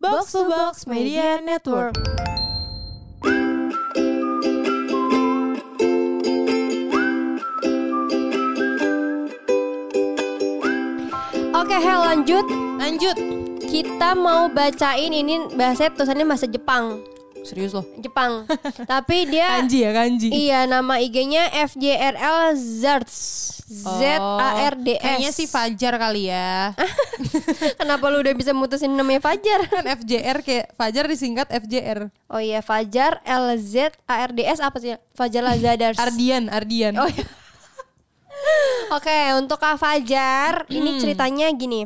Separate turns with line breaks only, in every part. Box to Box Media Network.
Oke, Hel lanjut.
Lanjut.
Kita mau bacain ini bahasa tulisannya bahasa Jepang.
Serius loh.
Jepang. Tapi dia
Kanji ya kanji.
iya nama IG-nya FJRL Zards. Z A R D S.
Oh, Kayaknya si Fajar kali ya.
Kenapa lu udah bisa mutusin namanya Fajar?
kan FJR kayak Fajar disingkat FJR.
Oh iya, Fajar L Z A R D S apa sih? Fajar Lazadars.
Ardian, Ardian.
Oh, iya. Oke, untuk Kak Fajar, ini ceritanya gini.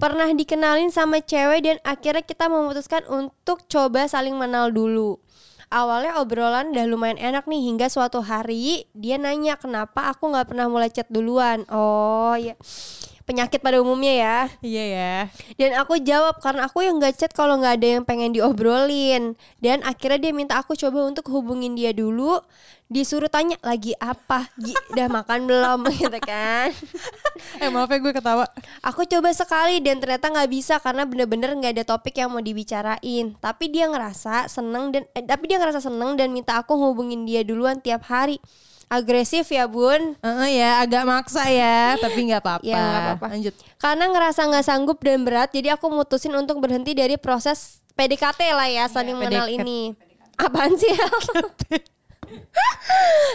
Pernah dikenalin sama cewek dan akhirnya kita memutuskan untuk coba saling mengenal dulu. Awalnya obrolan udah lumayan enak nih hingga suatu hari dia nanya kenapa aku nggak pernah mulai chat duluan. Oh ya penyakit pada umumnya ya.
Iya ya.
Dan aku jawab karena aku yang gak chat kalau nggak ada yang pengen diobrolin. Dan akhirnya dia minta aku coba untuk hubungin dia dulu. Disuruh tanya lagi apa, Gi, udah makan belum gitu kan.
Eh maaf ya gue ketawa.
Aku coba sekali dan ternyata nggak bisa karena bener-bener nggak ada topik yang mau dibicarain. Tapi dia ngerasa seneng dan eh, tapi dia ngerasa seneng dan minta aku hubungin dia duluan tiap hari. Agresif ya bun.
Heeh ya, agak maksa ya, tapi nggak apa-apa.
Ya, nggak apa-apa.
Lanjut.
Karena ngerasa nggak sanggup dan berat, jadi aku mutusin untuk berhenti dari proses PDKT lah
Iya,
ya, saling mengenal
PDKT.
ini. Apaan sih? Hel?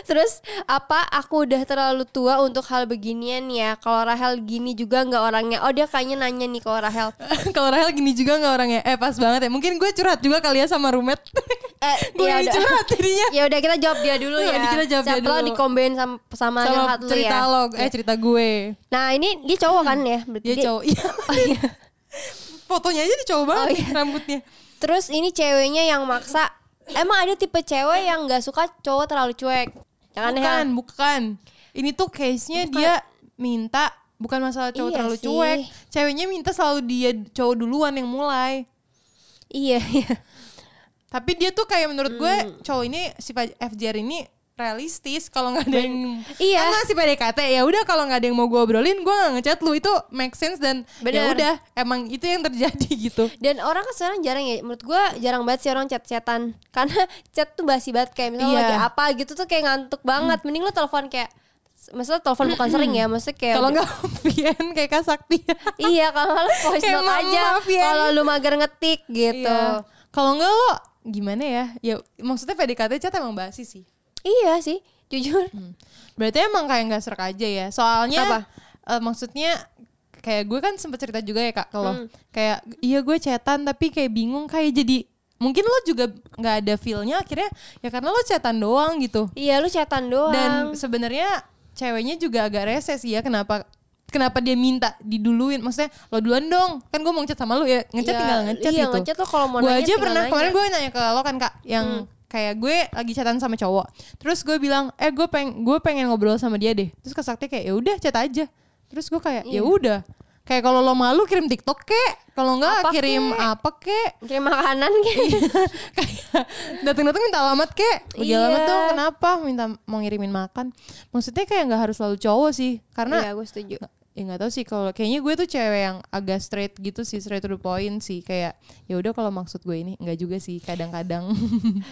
Terus apa? Aku udah terlalu tua untuk hal beginian ya. Kalau Rahel gini juga nggak orangnya. Oh dia kayaknya nanya nih kalau Rahel.
Kalau Rahel gini juga nggak orangnya. Eh pas banget ya. Mungkin gue curhat juga kali ya sama rumet.
Eh,
gue yang curhat jadinya.
Ya udah kita jawab dia dulu ya.
iya. Kita jawab dia
Siapa tahu
dulu.
dikombain sama sama,
Sama
curhat lu
cerita
ya.
lo, eh cerita gue.
Nah ini dia cowok kan ya. Berarti
Dia cowok. Iya.
Oh, iya.
Fotonya aja dicoba banget
Oh, iya.
rambutnya.
Terus ini ceweknya yang maksa. Emang ada tipe cewek yang nggak suka cowok terlalu cuek. Ya kan, Jangan
Bukan, bukan. Ini tuh case-nya dia minta bukan masalah cowok
Iya
terlalu
sih.
cuek. Ceweknya minta selalu dia cowok duluan yang mulai.
Iya, iya.
Tapi dia tuh kayak menurut gue
Hmm.
cowok ini si Fa- FJR ini realistis kalau nggak ada yang
Iya.
kan masih PDKT ya udah kalau nggak ada yang mau gue obrolin gue nggak ngechat lu itu make sense dan ya
Bener.
udah emang itu yang terjadi gitu
Dan orang kan sekarang jarang ya. Menurut gua jarang banget sih orang chat-chatan. Karena chat tuh basi banget kayak misalnya
Iya. Hmm.
lagi apa gitu tuh kayak ngantuk banget. Mending lu telepon kayak Maksudnya telepon bukan sering ya, maksudnya kayak
kalau nggak Vian kayak kasakti
Iya, kalau nggak lu voice
Kayak
note
maaf,
aja.
maaf ya.
Kalau lu mager ngetik gitu.
Iya. kalau nggak lo gimana ya ya maksudnya PDKT chat emang basi sih
Iya sih, jujur.
Hmm. Berarti emang kayak nggak serak aja ya. Soalnya
Apa?
eh, maksudnya kayak gue kan sempet cerita juga ya kak kalau
Hmm.
kayak iya gue cetan tapi kayak bingung kayak jadi mungkin lo juga nggak ada feelnya akhirnya ya karena lo cetan doang gitu.
Iya, lu chatan doang.
Dan sebenarnya ceweknya juga agak reses ya kenapa kenapa dia minta diduluin maksudnya lo duluan dong kan gue mau ngechat sama lo ya ngechat
Iya,
tinggal ngechat
iya,
gitu
ngechat lo kalau mau
gue
nanya
aja
tinggal
pernah
nanya. Hmm.
kemarin gue nanya ke lo kan kak yang kayak gue lagi chatan sama cowok terus gue bilang eh gue peng gue pengen ngobrol sama dia deh terus kak Sakti kayak ya udah chat aja terus gue kayak ya
Iya.
udah kayak kalau lo malu kirim tiktok kek kalau enggak
Apa
kirim
kek?
apa kek
kirim makanan gitu.
kayak datang-datang minta alamat kek Bagi
Iya.
alamat tuh kenapa minta mau ngirimin makan maksudnya kayak nggak harus selalu cowok sih
Iya,
karena
gue setuju.
ya nggak tahu sih kalau kayaknya gue tuh cewek yang agak straight gitu sih straight to the point sih kayak ya udah kalau maksud gue ini nggak juga sih kadang-kadang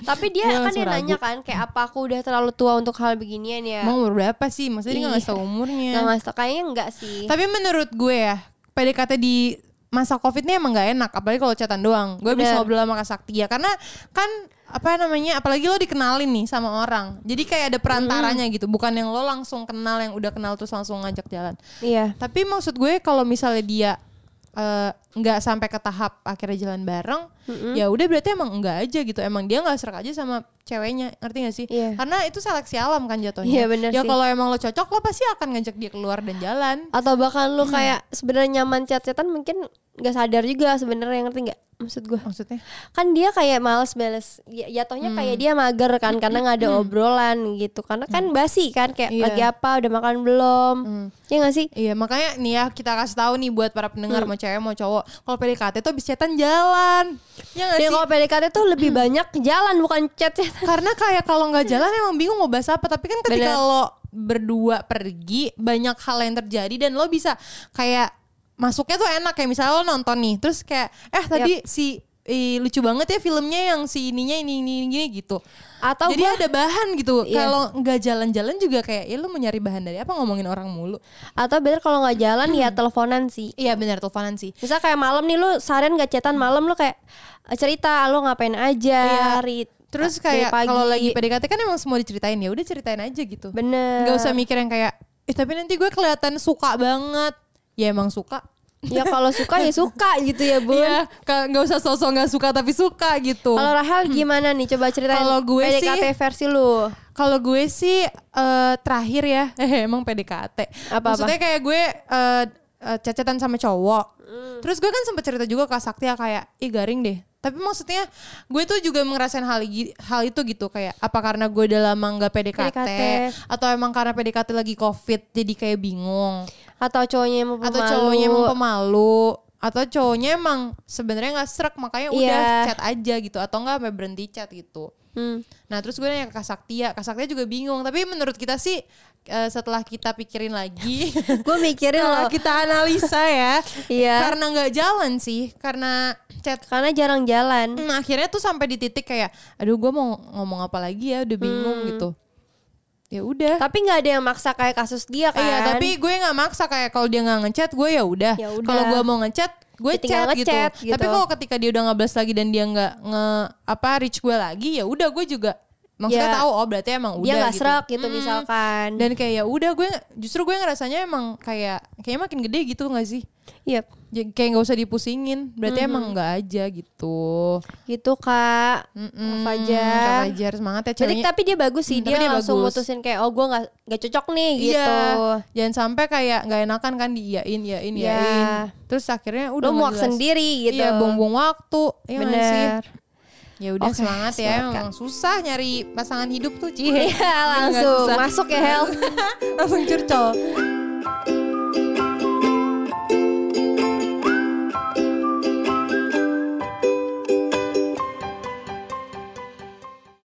Tapi dia
Gua
kan
langsung
dia
ragu.
nanya kan kayak apa aku udah terlalu tua untuk hal beginian ya.
mau umur berapa sih maksudnya dia nggak ngasih tau umurnya
Nah, mas kayaknya enggak sih.
tapi menurut gue ya PDKT di masa covid ini emang nggak enak apalagi kalau chatan doang gue bisa
Bener.
ngobrol sama Kak Sakti ya karena kan apa namanya apalagi lo dikenalin nih sama orang jadi kayak ada perantaranya gitu bukan yang lo langsung kenal yang udah kenal terus langsung ngajak jalan
iya.
tapi maksud gue kalau misalnya dia eh, nggak sampai ke tahap akhirnya jalan bareng ya udah berarti emang enggak aja gitu emang dia nggak serak aja sama ceweknya ngerti gak sih
Iya.
karena itu seleksi alam kan jatuhnya
Iya, bener
ya
sih.
kalau emang lo cocok lo pasti akan ngajak dia keluar dan jalan
Atau bahkan
Hmm.
lu kayak sebenarnya nyaman chat-chatan mungkin nggak sadar juga sebenarnya ngerti nggak maksud gue?
maksudnya
Kan dia kayak males bales ya, jatuhnya
Hmm.
kayak dia mager kan karena nggak ada obrolan gitu. Karena kan basi kan kayak
Iya.
lagi apa, udah makan belum. Ya nggak sih?
Iya makanya nih ya kita kasih tahu nih buat para pendengar
Hmm.
mau cewek mau cowok kalau PDKT tuh habis chatan jalan ya nggak
Dan
sih Hmm.
kalau PDKT tuh lebih banyak jalan bukan chat-chatan.
karena kayak kalau nggak jalan emang bingung mau bahas apa tapi kan ketika
Bener.
lo berdua pergi banyak hal yang terjadi dan lo bisa kayak masuknya tuh enak kayak misalnya lo nonton nih terus kayak eh tadi si Ih, lucu banget ya filmnya yang si ininya ini ini ini, gini gitu.
Atau
Jadi
gua-
ada bahan gitu.
Iya.
Kalau nggak jalan-jalan juga kayak ya lu mau nyari bahan dari apa ngomongin orang mulu.
Atau bener kalau nggak jalan ya
Hmm.
teleponan sih.
Iya benar teleponan sih.
Misal kayak malam nih lu seharian gak cetan malam lu kayak eh, cerita lu ngapain aja
Iya.
hari
Terus
dari
kayak kalau
pagi.
lagi PDKT kan emang semua diceritain ya, udah ceritain aja gitu.
bener
Nggak usah mikir yang kayak eh tapi nanti gue kelihatan suka banget. Ya emang suka.
ya kalau suka ya suka gitu ya bun
Iya, ka- nggak usah sosok nggak suka tapi suka gitu.
Kalau Rahel gimana nih? Coba ceritain
Kalau gue
PDKT
sih-
versi lu.
Kalau gue sih eh, terakhir ya, eh, emang PDKT.
Apa-apa?
Maksudnya kayak gue eh eh, cacatan sama cowok. Terus gue kan sempet cerita juga ke Saktia kayak, ih garing deh. Tapi maksudnya gue tuh juga ngerasain hal, gi- hal itu gitu kayak apa karena gue udah lama nggak PDKT,
PDKT.
atau emang karena PDKT lagi covid jadi kayak bingung
Atau cowoknya yang pemalu.
atau cowoknya emang pemalu atau cowoknya emang sebenarnya nggak serak makanya udah
Iya.
chat aja gitu atau nggak sampai berhenti chat gitu.
Hmm.
Nah terus gue nanya ke Kak Saktia, Kak Saktia juga bingung. Tapi menurut kita sih eh, setelah kita pikirin lagi,
Gue mikirin
setelah
loh.
kita analisa ya,
Iya.
karena nggak jalan sih, karena chat
Karena jarang jalan.
Hmm, akhirnya tuh sampai di titik kayak, aduh gue mau ngomong apa lagi ya, udah bingung
Hmm.
gitu. Ya udah.
Tapi nggak ada yang maksa kayak kasus dia kan.
Iya tapi gue nggak maksa kayak kalau dia nggak ngechat gue ya udah.
Ya udah.
Kalau gue mau ngechat gue
Ditinggal
chat gitu.
ngechat gitu.
Tapi kalau ketika dia udah nggak balas lagi dan dia nggak nge apa reach gue lagi ya udah gue juga maksudnya
Ya.
tahu oh berarti emang udah
dia nggak
gitu.
serak gitu
Mm.
misalkan.
Dan kayak ya udah gue justru gue ngerasanya emang kayak kayaknya makin gede gitu nggak sih?
Iya.
Ya, kayak nggak usah dipusingin. Berarti emang nggak aja gitu.
Gitu kak.
Mm-mm.
Fajar.
Kak Fajar semangat ya
Jadi
ceweknya.
tapi dia bagus sih.
Hmm,
Dia,
tapi dia
langsung
bagus.
mutusin kayak oh gue nggak nggak cocok nih gitu.
Iya, jangan sampai kayak nggak enakan kan diiyain, iyain,
Iya.
iyain. Terus akhirnya udah
Lu
nggak
muak
jelas.
sendiri gitu.
Iya, buang-buang waktu. Iya nggak sih?
Bener.
Ya udah
Oke,
semangat ya.
silakan.
Emang susah nyari pasangan hidup tuh, Ci.
Iya
Nggak
langsung
susah.
masuk ya Hel.
langsung curcol.